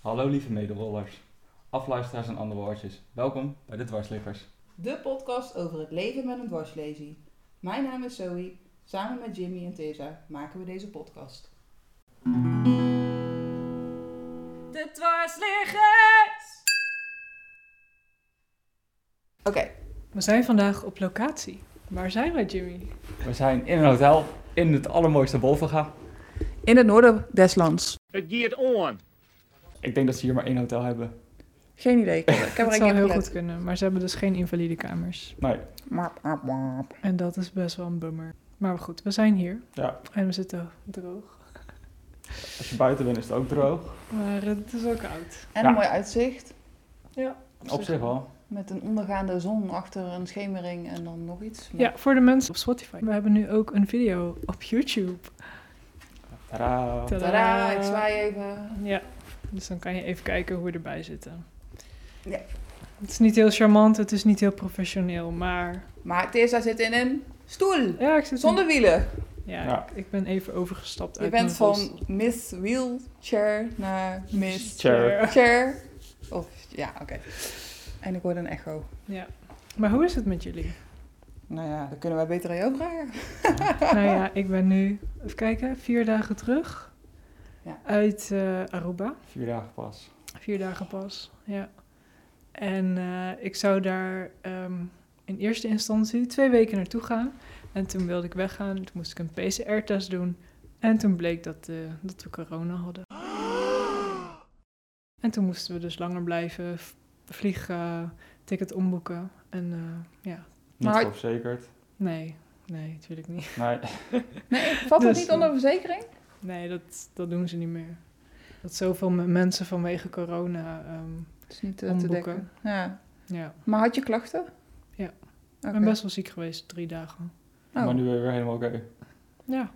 Hallo lieve medewollers, afluisteraars en andere woordjes. Welkom bij de Dwarsliggers. De podcast over het leven met een dwarslesie. Mijn naam is Zoe. Samen met Jimmy en Tessa maken we deze podcast. De dwarsliggers! Oké, We zijn vandaag op locatie. Waar zijn wij, Jimmy? We zijn in een hotel in het allermooiste Wolvenga. in het noorden des lands. Het geert on. Ik denk dat ze hier maar één hotel hebben. Geen idee. Ik heb Dat er zou een heel goed kunnen, maar ze hebben dus geen invalide kamers. Nee, En dat is best wel een bummer. Maar goed, we zijn hier ja, en we zitten droog. als je buiten bent is het ook droog. Maar eh, het is ook koud. En Ja. een mooi uitzicht. Ja, Op zich wel. Met een ondergaande zon achter een schemering en dan nog iets. Maar- Ja, voor de mensen op Spotify. We hebben nu ook een video op YouTube. Tadaa. Tadaa, ik zwaai even. Ja, dus dan kan je even kijken hoe we erbij zitten. Ja. Het is niet heel charmant, het is niet heel professioneel, maar... Maar Tessa zit in een stoel. Ja, ik zit... Zonder wielen. Ja, Ja. Ik, ik ben even overgestapt Je uit bent mijn van Miss Wheelchair naar Miss Chair. Chair. Of, ja, oké. En ik hoorde een echo. Ja. Maar hoe is het met jullie? Nou ja, dat kunnen wij beter aan jou vragen. nou ja, ik ben nu, even kijken, vier dagen terug. Ja. Uit eh, Aruba. Vier dagen pas. Vier dagen pas, ja. En eh, ik zou daar ehm, in eerste instantie twee weken naartoe gaan. En toen wilde ik weggaan. Toen moest ik een PCR-test doen. En toen bleek dat, eh, dat we corona hadden. En toen moesten we dus langer blijven, v- vliegen, ticket omboeken. En eh, ja, Niet Maar- verzekerd. nee, nee, natuurlijk niet. Nee, Valt Dus- het niet onder verzekering? Nee, dat, dat doen ze niet meer. Dat zoveel me- mensen vanwege corona. ehm, Dat is niet eh, te Omboeken. dekken. Ja. ja. Maar had je klachten? Ja. Oké. Ik ben best wel ziek geweest, drie dagen. Eh, Oh. maar nu ben je weer helemaal oké. Ja.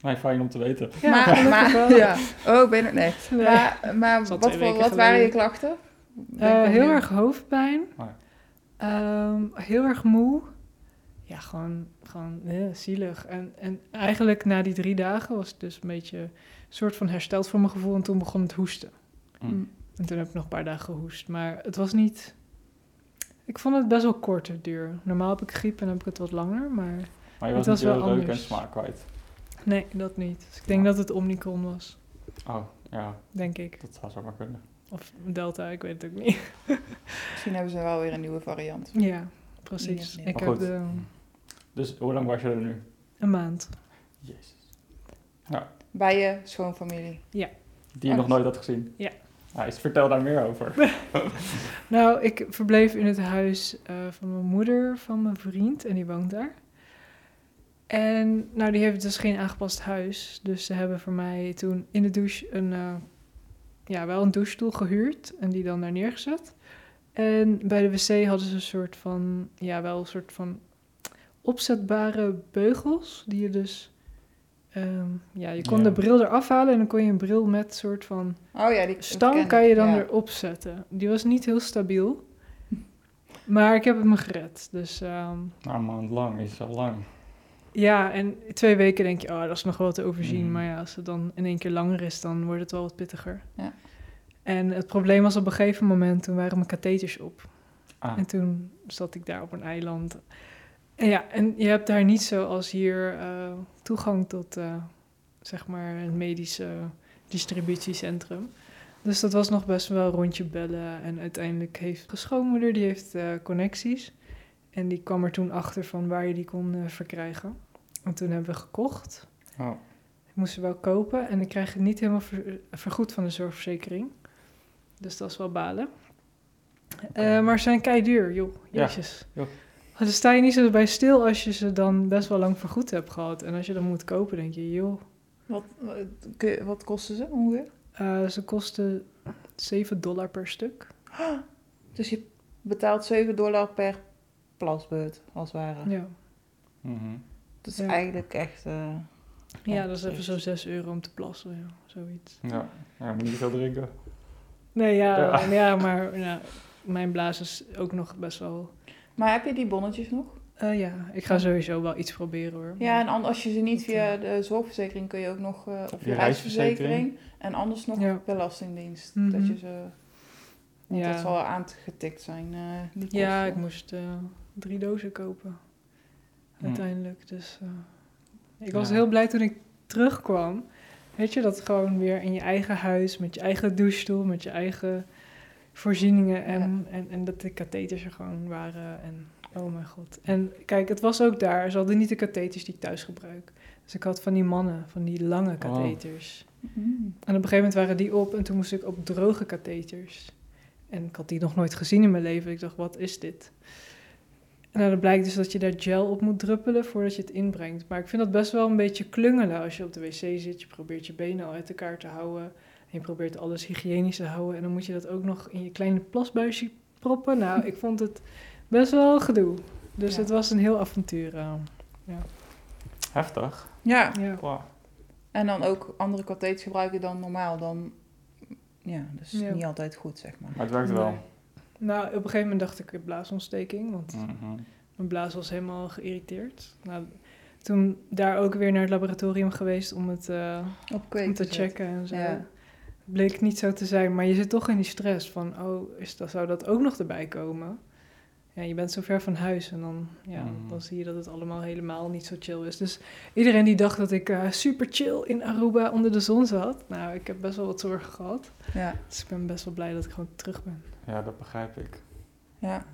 Nee, fijn om te weten. ja maar, gelukkig maar, wel. ja. Oh, ik ben het. Nee. Nee. Maar, maar Het is al wat, twee voor, weken wat waren je geleden. klachten? Eh, heel erg hoofdpijn. Maar- Ehm, heel erg moe. Ja, gewoon, gewoon eh, zielig. En, en eigenlijk na die drie dagen was ik dus een beetje een soort van hersteld voor mijn gevoel. En toen begon het hoesten. Mm. En toen heb ik nog een paar dagen gehoest. Maar het was niet... Ik vond het best wel korte duur. Normaal heb ik griep en heb ik het wat langer, maar... Maar je was, Het was niet heel wel leuk anders. en smaak kwijt. Nee, dat niet. Dus ik denk Ja. dat het Omicron was, Oh, ja, denk ik. dat zou zomaar kunnen. Of Delta, ik weet het ook niet. Misschien hebben ze wel weer een nieuwe variant. Ja, precies. Ja, ja. Ik Maar heb goed. eh, Dus hoe lang was je er nu? een maand. Jezus. Bij je schoonfamilie. Die je Oh, nog dat- nooit had gezien? Ja. Nou, eens vertel daar meer over. Nou, ik verbleef in het huis eh, van mijn moeder, van mijn vriend, en die woont daar. En nou, die heeft dus geen aangepast huis. Dus ze hebben voor mij toen in de douche een, eh, ja, wel een douchestoel gehuurd en die dan daar neergezet. En bij de wc hadden ze een soort van, ja, wel een soort van opzetbare beugels die je dus, ehm, ja, je kon Ja. de bril eraf halen en dan kon je een bril met soort van Oh ja, die dat ken Stang ik, kan je dan ja. erop zetten. Die was niet heel stabiel. Maar ik heb het me gered. Dus ehm, Nou, een maand lang is al lang. ja, en twee weken denk je, oh, dat is nog wel te overzien. Mm. Mhm. Maar ja, als het dan in één keer langer is, dan wordt het wel wat pittiger. Ja. En het probleem was op een gegeven moment, toen waren mijn katheters op. Ah. En toen zat ik daar op een eiland. En ja, en je hebt daar niet zoals hier eh, toegang tot, eh, zeg maar, het medische distributiecentrum. Dus dat was nog best wel een rondje bellen. En uiteindelijk heeft mijn schoonmoeder, die heeft eh, connecties. En die kwam er toen achter van waar je die kon eh, verkrijgen. En toen hebben we gekocht. Oh. Ik moest ze wel kopen en ik krijg het niet helemaal ver- vergoed van de zorgverzekering. Dus dat is wel balen. Eh, maar ze zijn kei duur, joh. Ja, Jezus. joh. Dan sta je niet zo bij stil als je ze dan best wel lang vergoed hebt gehad. En als je dan moet kopen, denk je, joh. Wat, wat- kun je- wat kosten ze ongeveer? Eh, ze kosten 7 dollar per stuk. Dus je betaalt 7 dollar per plasbeurt, als het ware. Hm. Ja, Mhm. Dat is Ja. eigenlijk echt... eh, Oh, ja dat is even precies. zo'n 6 euro om te plassen, ja, zoiets. Ja, ja moet je niet veel drinken. Nee, ja, Ja. ja. maar ja, mijn blaas is ook nog best wel... Maar heb je die bonnetjes nog? Eh, ja, ik ga sowieso wel iets proberen hoor. Ja, en an- als je ze niet via eh, de zorgverzekering kun je ook nog, eh of je Je reisverzekering, en anders nog Ja. belastingdienst. Mhm. Dat je ze, want Ja. dat zal aangetikt zijn, eh die kosten. Ja, ik moest eh, drie dozen kopen. Hm. Uiteindelijk. Dus eh, ik was Ja. heel blij toen ik terugkwam. Weet je, dat gewoon weer in je eigen huis, met je eigen douchestoel, met je eigen voorzieningen. En, en, en dat de katheters er gewoon waren. En oh mijn god. En kijk, het was ook daar. Ze hadden niet de katheters die ik thuis gebruik. Dus ik had van die mannen, van die Oh. lange katheters. Mm. En op een gegeven moment waren die op en toen moest ik op droge katheters. En ik had die nog nooit gezien in mijn leven. Ik dacht, wat is dit? En nou, dan blijkt dus dat je daar gel op moet druppelen voordat je het inbrengt. Maar ik vind dat best wel een beetje klungelen als je op de wc zit. Je probeert je benen al uit elkaar te houden. En je probeert alles hygiënisch te houden. En dan moet je dat ook nog in je kleine plasbuisje proppen. Nou, ik vond het best wel gedoe. Dus Ja. het was een heel avontuur. eh. Heftig. Ja, Ja. Wow. en dan ook andere katheters gebruiken dan normaal. Dan, ja, dus Ja. niet altijd goed, zeg maar. Maar het werkt wel. Nou, op een gegeven moment dacht ik, ik heb blaasontsteking. Want Mhm. Mijn blaas was helemaal geïrriteerd. Nou, toen daar ook weer naar het laboratorium geweest om het eh, Op kweek om te gezet. checken en zo. Ja. Bleek niet zo te zijn, maar je zit toch in die stress van, oh, is dat, zou dat ook nog erbij komen? Ja, je bent zo ver van huis en dan, ja, Mm. dan zie je dat het allemaal helemaal niet zo chill is. Dus iedereen die dacht dat ik eh, super chill in Aruba onder de zon zat, nou, ik heb best wel wat zorgen gehad. Ja, Dus ik ben best wel blij dat ik gewoon terug ben. Ja, dat begrijp ik. ja.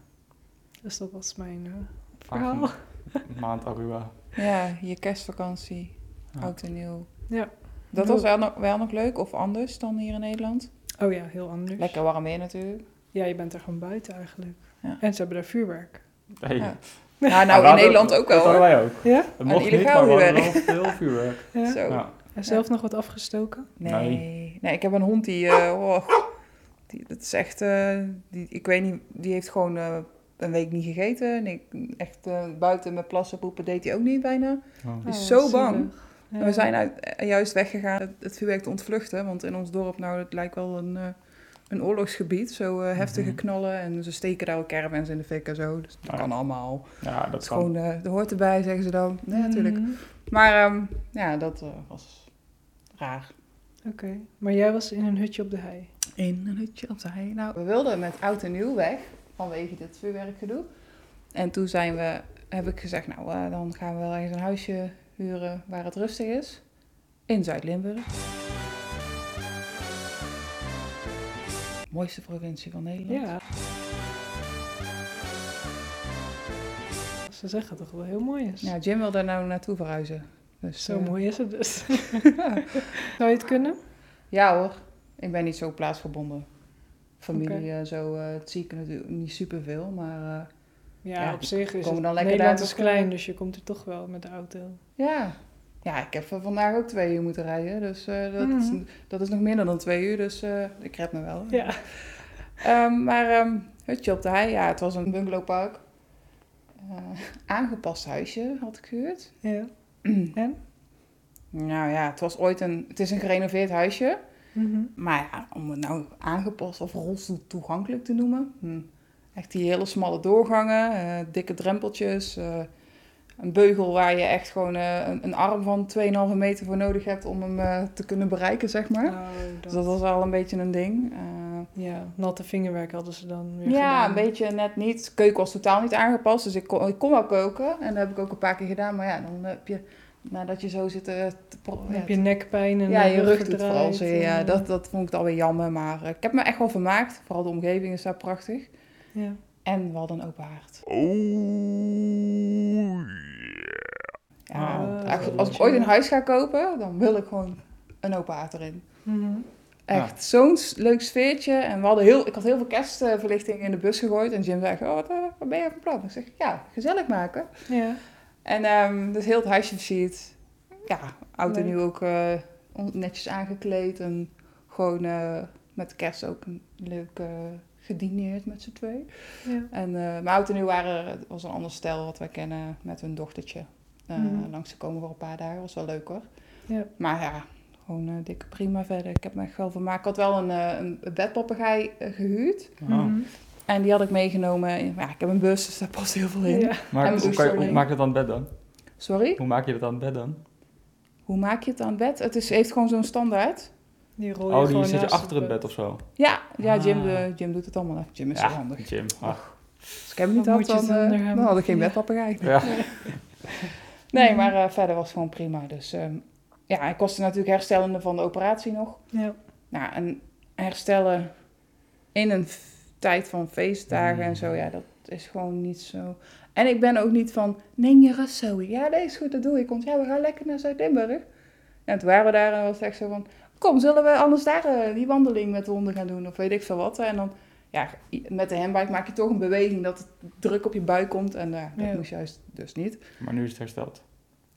Dus dat was mijn eh, Vaak verhaal. een Maand Aruba. Ja, je kerstvakantie, Ja. oud en nieuw. Ja. Dat was wel nog, wel nog leuk, of anders dan hier in Nederland. Oh ja, heel anders. Lekker warm weer natuurlijk. Ja, je bent er gewoon buiten eigenlijk. Ja. En ze hebben daar vuurwerk. Hey. Ja. Maar Nou, we nou in hadden- Nederland ook wel Dat hadden hoor. wij ook. Ja? Het mocht niet, illegaal maar we hadden vuurwerk. wel veel vuurwerk. ja. Zo. Ja. En zelf nog wat afgestoken? Nee. nee, ik heb een hond die, eh, oh, die dat is echt, eh, die, ik weet niet, die heeft gewoon eh, een week niet gegeten. En ik, echt eh, buiten met plassen poepen deed hij ook niet bijna. Oh. Die is Oh, zo zielig. bang. Ja. En we zijn uit, eh, juist weggegaan het, het vuurwerk te ontvluchten, want in ons dorp, nou, het lijkt wel een, eh, een oorlogsgebied. Zo eh, heftige Mhm. knallen en ze steken daar ook caravans in de fik en zo. Dus dat Ja. kan allemaal. Ja, Dat dat is kan. gewoon, eh dat hoort erbij, zeggen ze dan. Nee, natuurlijk. Mhm. Maar ehm, ja, dat eh, was raar. Oké. Maar jij was in een hutje op de hei. In een hutje op de hei. Nou, we wilden met oud en nieuw weg, vanwege dit vuurwerkgedoe. En toen zijn we, heb ik gezegd, nou, eh, dan gaan we wel eens een huisje huren waar het rustig is. In Zuid-Limburg. Mooiste provincie van Nederland. Ja. Ze zeggen toch wel heel mooi is. Ja, Jim wil daar nou naartoe verhuizen. Dus, Zo eh, mooi is het dus. Zou je het kunnen? Ja hoor, ik ben niet zo plaatsgebonden. Familie en zo, eh, het zie ik natuurlijk niet superveel, maar eh, Ja, Ja, op zich is komen dan het. lekker Nederland daar is nog, klein, eh, dus je komt er toch wel met de auto. ja. Ja, ik heb er vandaag ook twee uur moeten rijden, dus eh, dat, Mhm. dat is nog minder dan twee uur, dus eh, ik red me wel. Ja. Ehm, maar ehm, hutje op de hei, ja, het was een bungalowpark. Eh, aangepast huisje had ik gehuurd. Ja. En? Nou ja, het was ooit een, het is een gerenoveerd huisje. Mhm. Maar ja, om het nou aangepast of rolstoel toegankelijk te noemen. Hm. Echt die hele smalle doorgangen, eh, dikke drempeltjes. eh, een beugel waar je echt gewoon eh, een, een arm van 2,5 meter voor nodig hebt om hem eh, te kunnen bereiken, zeg maar. Oh, Dus dat- dat was al een beetje een ding. eh. Ja, natte vingerwerk hadden ze dan weer ja, gedaan. een beetje net niet. De keuken was totaal niet aangepast, dus ik kon, ik kon wel koken. En dat heb ik ook een paar keer gedaan. Maar ja, dan heb je, nadat je zo zit eh, te pro- Dan ja, heb je nekpijn en Ja, de eh, je rug doet verdraait vooral zeer. Ja, en- dat, dat vond ik dan weer jammer. Maar eh, ik heb me echt wel vermaakt. Vooral de omgeving is daar prachtig. Ja. En we hadden een open haard. Ja, Wauw, Ah, dat echt, is wel Ah, als ik chill. ooit een huis ga kopen, dan wil ik gewoon een open haard erin. Mhm. Echt zo'n s- leuk sfeertje. En we hadden heel, ik had heel veel kerstverlichting in de bus gegooid. En Jim zei, echt, oh, wat, eh, wat ben je van plan? Ik zeg, ja, gezellig maken. Ja. En ehm, dus heel het huisje versierd. Ja, oud en Leuk. nu ook eh, on- netjes aangekleed. En gewoon eh, met kerst ook een leuk eh, gedineerd met z'n twee. ja. En, eh maar oud en nieuw waren, er- het was een ander stel wat wij kennen met hun dochtertje. eh, Mhm. Langs te komen voor een paar dagen, was wel leuk hoor. Ja. Maar ja, gewoon eh dikke prima verder. Ik heb me echt wel vermaakt. Ik had wel een, eh, een bedpapagaai eh, gehuurd. Oh. Mhm. En die had ik meegenomen. in- Ja, ik heb een bus, dus daar past heel veel in. Ja. En Maar mijn hoe, kan je- hoe douche maak je dat aan het bed dan? Sorry? Hoe maak je dat aan het bed dan? Hoe maak je het aan het bed? Het is, heeft gewoon zo'n standaard. Die rol je Oh, die gewoon zit je naast achter het bed of zo? Ja, ja Ah. Jim, eh, Jim doet het allemaal. Jim is ja, zo handig. Jim. Ach, Als ik hem niet Dan had, moet je het dan, eh, onder hem. dan had ik geen Ja. bedpapperij. ja. Nee, maar eh, verder was het gewoon prima. Dus ehm, ja, ik kostte natuurlijk herstellende van de operatie nog. Ja. Nou, en herstellen in een f- tijd van feestdagen Mm. en zo, ja, dat is gewoon niet zo. En ik ben ook niet van, neem je rust, Zoe. Ja, dat is goed, dat doe ik. Want ja, we gaan lekker naar Zuid-Limburg. En toen waren we daar en was het echt zo van, kom, zullen we anders daar eh, die wandeling met de honden gaan doen? Of weet ik veel wat. En dan, ja, i- met de handbike maak je toch een beweging dat het druk op je buik komt. En eh, dat Ja. moest juist dus niet. Maar nu is het hersteld.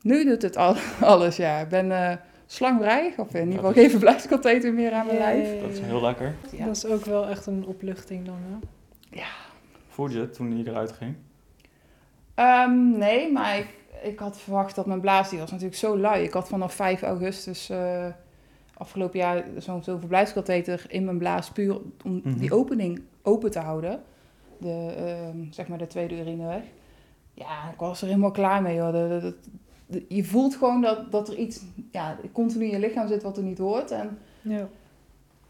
Nu doet het al, alles, ja. Ik ben eh slangrijig, of in ieder geval Dat is- geen verblijfscontainer meer aan mijn dus- Ja, lijf. ja, ja, Dat is ja. heel lekker. Ja. Dat is ook wel echt een opluchting dan, hè? Voelde je het toen hij eruit ging? Ehm, nee, maar ik, ik had verwacht dat mijn blaas, die was natuurlijk zo lui. Ik had vanaf 5 augustus eh, afgelopen jaar zo'n zo'n verblijfskatheter in mijn blaas puur om Mhm. die opening open te houden. De, ehm, zeg maar de tweede urineweg. Ja, ik was er helemaal klaar mee. Hoor. Dat- dat- dat- dat- je voelt gewoon dat, dat er iets ja, continu in je lichaam zit wat er niet hoort. En Ja.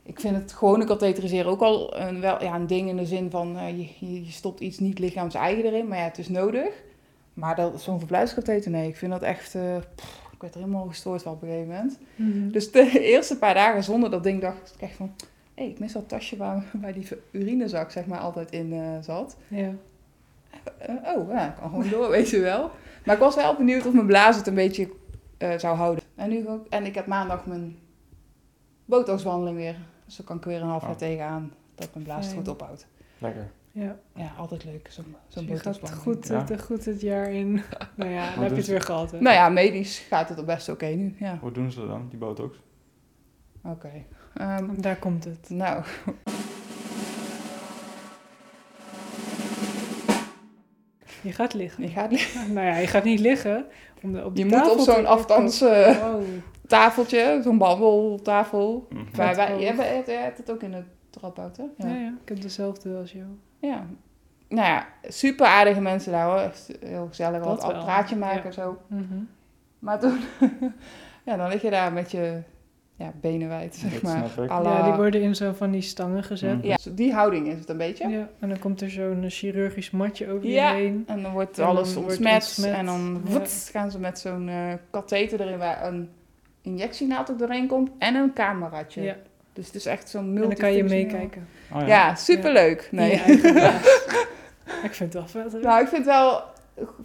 Ik vind het gewone katheteriseren ook al een, wel, ja, een ding in de zin van eh, je- je, je stopt iets niet lichaams eigen erin, maar ja, het is nodig. Maar dat, zo'n verblijfskatheter, nee, ik vind dat echt, eh, pff, ik werd er helemaal gestoord van op een gegeven moment. Dus de eerste paar dagen zonder dat ding dacht ik echt van, hé, ik mis dat tasje waar, waar die urinezak zeg maar altijd in eh, zat. ja. Eh, oh, ja, ik kan gewoon door, weet je wel. Maar ik was wel benieuwd of mijn blaas het een beetje eh, zou houden. En, nu ook, en ik heb maandag mijn botoxwandeling weer. Dus dan kan ik weer een half jaar Oh. tegenaan dat mijn blaas het Fijn. goed ophoudt. Lekker. ja. Ja, altijd leuk, zo'n Dus zo'n je gaat botoxwandeling. goed, Ja. het, goed het jaar in. Nou ja, dan heb je dus- het weer gehad, hè? Nou ja, medisch gaat het al best oké nu. Ja, Hoe doen ze dat dan, die botox? oké. Ehm, Daar komt het. nou, Je gaat liggen. je, gaat, niet- Nou ja, je gaat niet liggen. Om de, op de je moet op tafel te- zo'n afstands eh, Wow. tafeltje, zo'n babbeltafel. Mhm. Waar wij, groot. jij hebt jij hebt het ook in het trapbout, hè? Ja. ja, ik heb dezelfde als jou. Ja. Nou ja, super aardige mensen daar hoor. Echt heel gezellig. Dat Wat al wel, praatje maken ja. en zo. Mhm. Maar toen... ja, dan lig je daar met je ja, benen wijd, zeg Dat maar. snap ik. à la- Mhm. Ja, die worden in zo van die stangen gezet. Mm. Ja, zo die houding is het een beetje. Ja, en dan komt er zo'n eh, chirurgisch matje over je Ja. heen. En dan wordt En dan alles wordt ontsmet. ontsmet. En dan Ja. woets, gaan ze met zo'n eh katheter erin waar een injectienaald ook doorheen komt. En een cameraatje. Ja. Dus het is echt zo'n En multi dan kan je meekijken. Oh, ja. Ja, superleuk. In Nee. je eigen huis. ik vind het wel vet. hè? Nou, ik vind het wel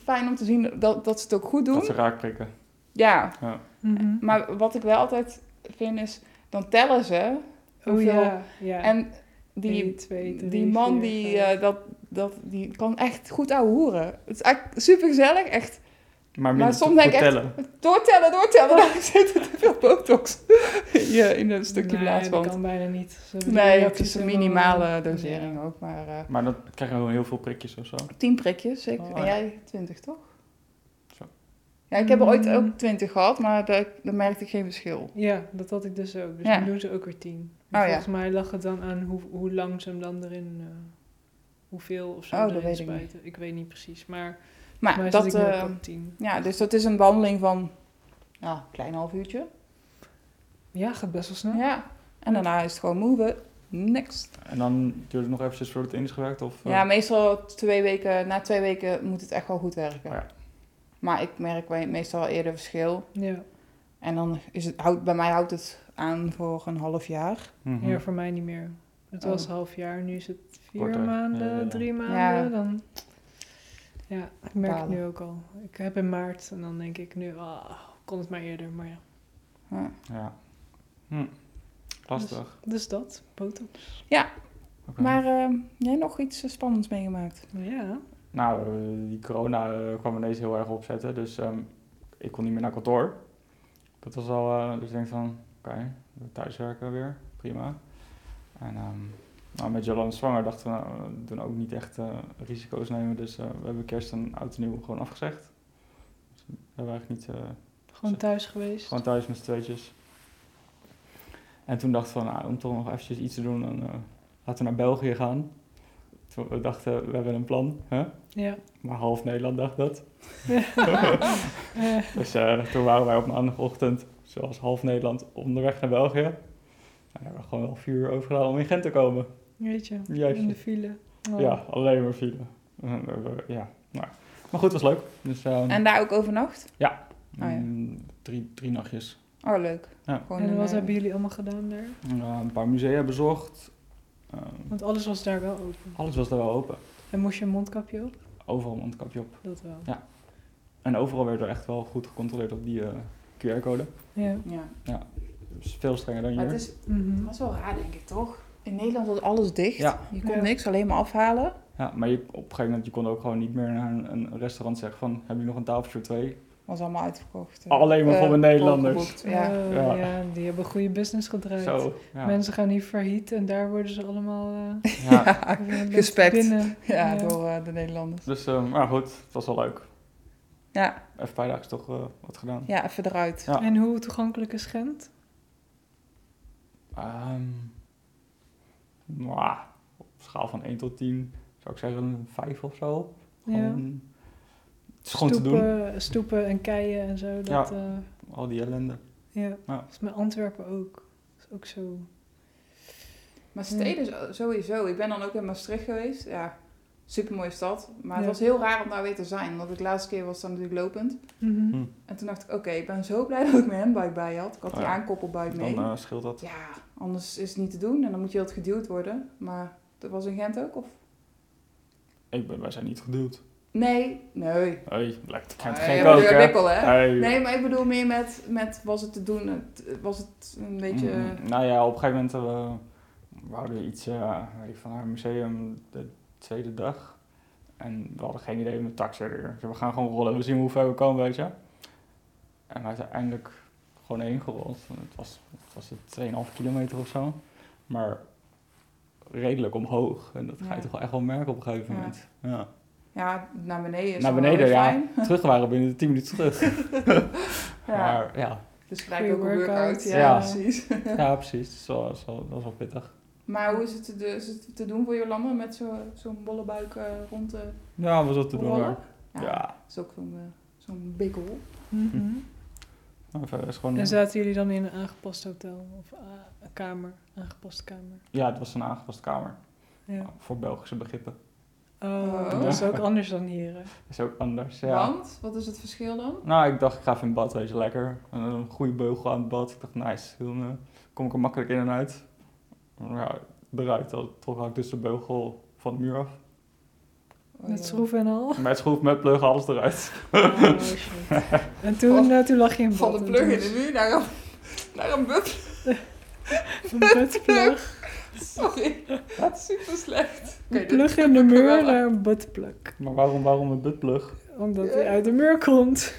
fijn om te zien dat, dat ze het ook goed doen. Dat ze raak prikken. Ja, Mhm. Maar wat ik wel altijd vind is, dan tellen ze. oh hoeveel- ja, ja. En die, Eén, twee, die drie, man vier, die, vijf. eh, dat, dat, die kan echt goed ouwehoeren. Het is echt super gezellig. Echt Maar, soms denk ik echt- tellen. doortellen, doortellen. Daar zit er te veel botox ja, in een stukje nee, blaasband. dat kan bijna niet. Ze hebben die Nee, het reacties eh, is een helemaal- minimale dosering ook. Maar eh Maar dan krijg je gewoon heel veel prikjes of zo. tien prikjes, zeker. Oh, ja. en jij twintig, toch? Zo. Ja, ik heb er ooit Mm. ook twintig gehad, maar daar, daar merkte ik geen verschil. Ja, dat had ik dus ook. Dus Ja. nu doen ze ook weer tien. En Oh ja. volgens mij lag het dan aan hoe, hoe lang ze hem dan erin... eh, hoeveel of zo Oh, dat erin weet ik niet. spuiten. Ik weet niet precies, maar... Maar maar dat... zit ik nu ook eh, op tien. Ja, dus dat is een wandeling van nou, een klein half uurtje. Ja, gaat best wel snel. Ja. En daarna is het gewoon move. Next. En dan duurt het nog eventjes voordat het in is gewerkt? Of, eh, Ja, meestal twee weken, na twee weken moet het echt wel goed werken. Oh ja. Maar ik merk wel- meestal wel eerder verschil. Ja. En dan is het, houdt, bij mij houdt het aan voor een half jaar. mhm. Ja, voor mij niet meer. Het Oh. was een half jaar, nu is het vier Korter. maanden, Ja, ja, ja. drie maanden. Dan, ja, ik merk het Balen. nu ook al. Ik heb in maart en dan denk ik nu, ah, kon het maar eerder. Maar ja, Ja. Ja. Hm. Lastig. dus dat, botox. Oké. Maar eh, jij nog iets eh, spannends meegemaakt? Ja, Nou, eh, die corona eh, kwam ineens heel erg opzetten, dus ehm, ik kon niet meer naar kantoor. Dat was al, eh, dus ik denk van, oké, thuiswerken weer, prima. En ehm, nou, met Jolande zwanger dachten we, nou, we doen ook niet echt eh, risico's nemen, dus eh, we hebben kerst en oud en nieuw gewoon afgezegd. Dus we hebben eigenlijk niet... eh, gewoon thuis geweest. gewoon thuis met z'n tweetjes. En toen dacht ik van, nou, om toch nog eventjes iets te doen, dan eh, laten we naar België gaan. Toen we dachten, we hebben een plan. Hè? Ja. Maar half Nederland dacht dat. Eh, Dus eh, toen waren wij op maandagochtend, zoals half Nederland, onderweg naar België. Nou, daar hebben we gewoon wel vier uur over gedaan om in Gent te komen. weet je, Juist. in de file. Oh. Ja, alleen maar file. Eh, eh, ja, nou. Maar goed, het was leuk. Dus, ehm, En daar ook overnacht? ja. mm, drie, drie nachtjes. Oh, leuk. Ja. Gewoon En een, wat eh, hebben jullie allemaal gedaan daar? Eh, een paar musea bezocht. Ehm, Want alles was daar wel open. alles was er wel open. En moest je een mondkapje op? Overal mondkapje op. Dat wel. En overal werd er echt wel goed gecontroleerd op die eh, QR-code. Ja. Ja. Dus veel strenger dan Maar hier. het is, Mhm. het was wel raar, denk ik, toch? In Nederland was alles dicht. Ja. Je kon Ja. niks, alleen maar afhalen. Ja, maar je, op een gegeven moment je kon ook gewoon niet meer naar een, een restaurant zeggen van... Hebben jullie nog een tafeltje of twee? Was allemaal uitverkocht. Alleen maar voor de Eh, Nederlanders. volgeboekt, Ja. Oh, Ja. ja. die hebben goede business gedraaid. Zo, ja. Mensen gaan hier failliet en daar worden ze allemaal eh, Ja. weer een beetje Gespekt. binnen. Ja, door eh, de Nederlanders. Dus, ehm, maar goed, het was wel leuk. Ja, Even een paar dagen toch eh, wat gedaan. ja even eruit. Ja. En hoe toegankelijk is Gent? Ehm mwah, op schaal van 1 tot 10 zou ik zeggen een 5 of zo. Ja. Gewoon, het is gewoon te doen, stoepen, stoepen en keien en zo. Dat, eh, al die ellende. ja. Ja. Volgens mij Antwerpen ook. Dat is ook zo. Maar steden zo- sowieso. Ik ben dan ook in Maastricht geweest. Ja, supermooie stad. Maar het Ja. was heel raar om daar weer te zijn. Want ik laatste keer was dan natuurlijk lopend. Mhm. Hm. En toen dacht ik, oké, ik ben zo blij dat ik mijn handbike bij had. Ik had die Ja. aankoppelbike Dan mee. eh, scheelt dat. Ja, anders is het niet te doen. En dan moet je wat geduwd worden. Maar dat was in Gent ook, of? Ik ben, wij zijn niet geduwd. Nee, nee. Hey, blijkt kent Nee, geen Ah, maar kook, weer hè? wikkel, hè? Hey. Nee, maar ik bedoel meer met, met was het te doen, het- was het een beetje... eh, Mm, nou ja, op een gegeven moment eh, we hadden iets eh, weet ik van haar museum de tweede dag. En we hadden geen idee met taxi er. Dus we gaan gewoon rollen, we zien hoe ver we komen, weet je. En we zijn uiteindelijk gewoon heen gerold. Want Het was, het was het 2,5 kilometer of zo. Maar redelijk omhoog. En dat ga je Ja. toch wel echt wel merken op een gegeven Ja. moment. Ja. Ja, naar beneden is Naar dan wel beneden, weer ja. fijn. Terug waren we binnen 10 minuten terug. Ja. Maar ja, Dus gelijk Goeie ook een workout. workout. Ja, Ja. precies. ja precies. Dat is wel- dat is wel- dat is wel pittig. Maar hoe is het te, is het te doen voor Jolanda met zo- zo'n bolle buik eh, rond de... Ja, was dat te doen Rollen? hoor. Ja. Dat is ook zo'n eh, zo'n big hole. Mhm. Nou, verder is gewoon, En zaten jullie dan in een aangepast hotel? Of eh, een kamer? Aangepaste kamer. ja, het was een aangepaste kamer. Ja. Voor Belgische begrippen. Oh, Oh. dat is ook anders dan hier. hè? Is ook anders, ja. Want, wat is het verschil dan? Nou, ik dacht, ik ga even in bad, weet je, lekker. En een goede beugel aan het bad. Ik dacht, nice. Dan eh, kom ik er makkelijk in en uit. Ja, eruit. Dan trok ik dus de beugel van de muur af. Oh, Met ja. schroeven en al. Met schroef, met plug, alles eruit. Oh, shit. En toen, eh, toen lag je in bad. Van de en plug toen in was- de muur naar een, naar een buff. Een buttplug. Sorry. Dat is super slecht. Oké, dit Een plug in knip ik de er muur wel uit. naar een buttplug. Maar waarom, waarom een buttplug? Omdat hij uit de muur komt.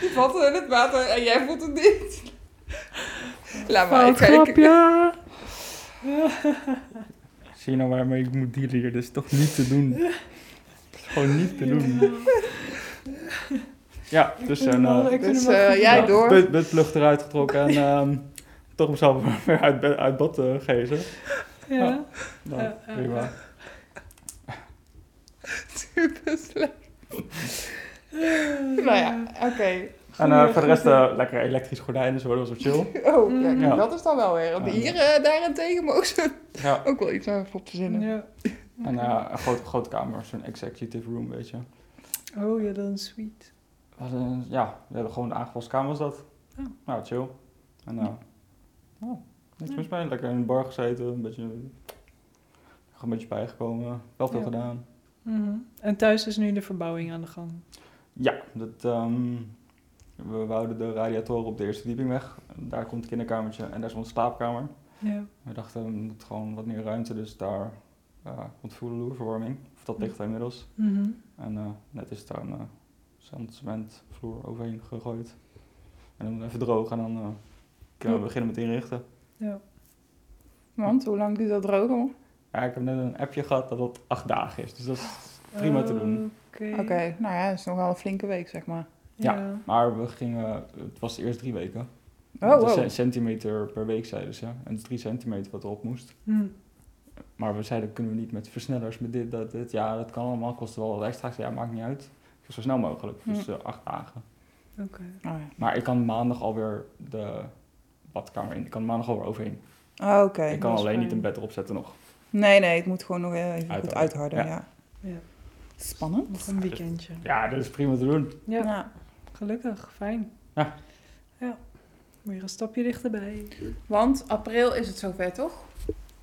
Die valt in het water en jij voelt het niet. Laat maar, ik Fout ga ik- grapje. Zie je nou waarmee ik moet dealen hier? Dat is toch niet te doen. Dat is gewoon niet te doen. Ja, dus vind en, hem eh, wel- ik vind Dus, hem wel eh, goed jij gedaan. door. But, lucht eruit getrokken en ehm, toch mezelf weer uit, bed- uit bad eh, gehezen. Ja. Nou, Ja, ja, prima. ja. Super slecht. Nou ja, oké. En eh, Goeie, voor de rest goeie. eh, lekker elektrisch gordijnen, zo, dat was wel chill. Oh, Mm. kijk, Ja. dat is dan wel weer. Want Ja. hier eh, daarentegen maar ook, zo, ja. ook wel iets aan op te zinnen. Ja. En eh, een grote, grote kamer, zo'n executive room, weet je. Oh ja, dan sweet. We hadden- ja, we hebben gewoon een aangepaste kamer was dat. Oh. Nou, chill. En eh, oh, niks mis mee. Lekker in een bar gezeten, een beetje, een beetje bijgekomen. Wel veel Ja. gedaan. Mhm. En thuis is nu de verbouwing aan de gang. Ja, dat, ehm, we wouden de radiatoren op de eerste verdieping weg. Daar komt het kinderkamertje en daar stond de slaapkamer. Ja. We dachten, we moeten gewoon wat meer ruimte, dus daar eh komt vloerverwarming. Of dat ligt er inmiddels. Mhm. En eh, net is daar een eh, zand, cement, vloer overheen gegooid. En dan even droog en dan eh, kunnen we Ja. beginnen met inrichten. ja. Want, hoe lang duurt dat droog allemaal? Ja, ik heb net een appje gehad dat dat acht dagen is, dus dat is prima Oh. te doen. Oké. Oké, nou ja, dat is nogal een flinke week, zeg maar. Ja. Ja. Maar we gingen, het was eerst drie weken. Oh, Dat is wow. een centimeter per week, zeiden ze. En het is drie centimeter wat erop moest. Hm. Maar we zeiden, kunnen we niet met versnellers, met dit, dat, dit. Ja, dat kan allemaal, kost wel wat extra. Ik zei, ja, maakt niet uit. Ik zeg, Zo snel mogelijk, dus Mm. eh, acht dagen. Oh, ja. Maar ik kan maandag alweer de badkamer in. Ik kan maandag alweer overheen. Ah, Oké. ik kan dat is alleen niet fijn. een bed erop zetten nog. Nee, nee, het moet gewoon nog eh, even goed Uitharden, uitharden. Ja. ja. Ja. Spannend. Nog een weekendje. Ja, dat is prima te doen. Ja, Ja. gelukkig. Fijn. Ja. Ja. Weer een stapje dichterbij. Want april is het zover, toch?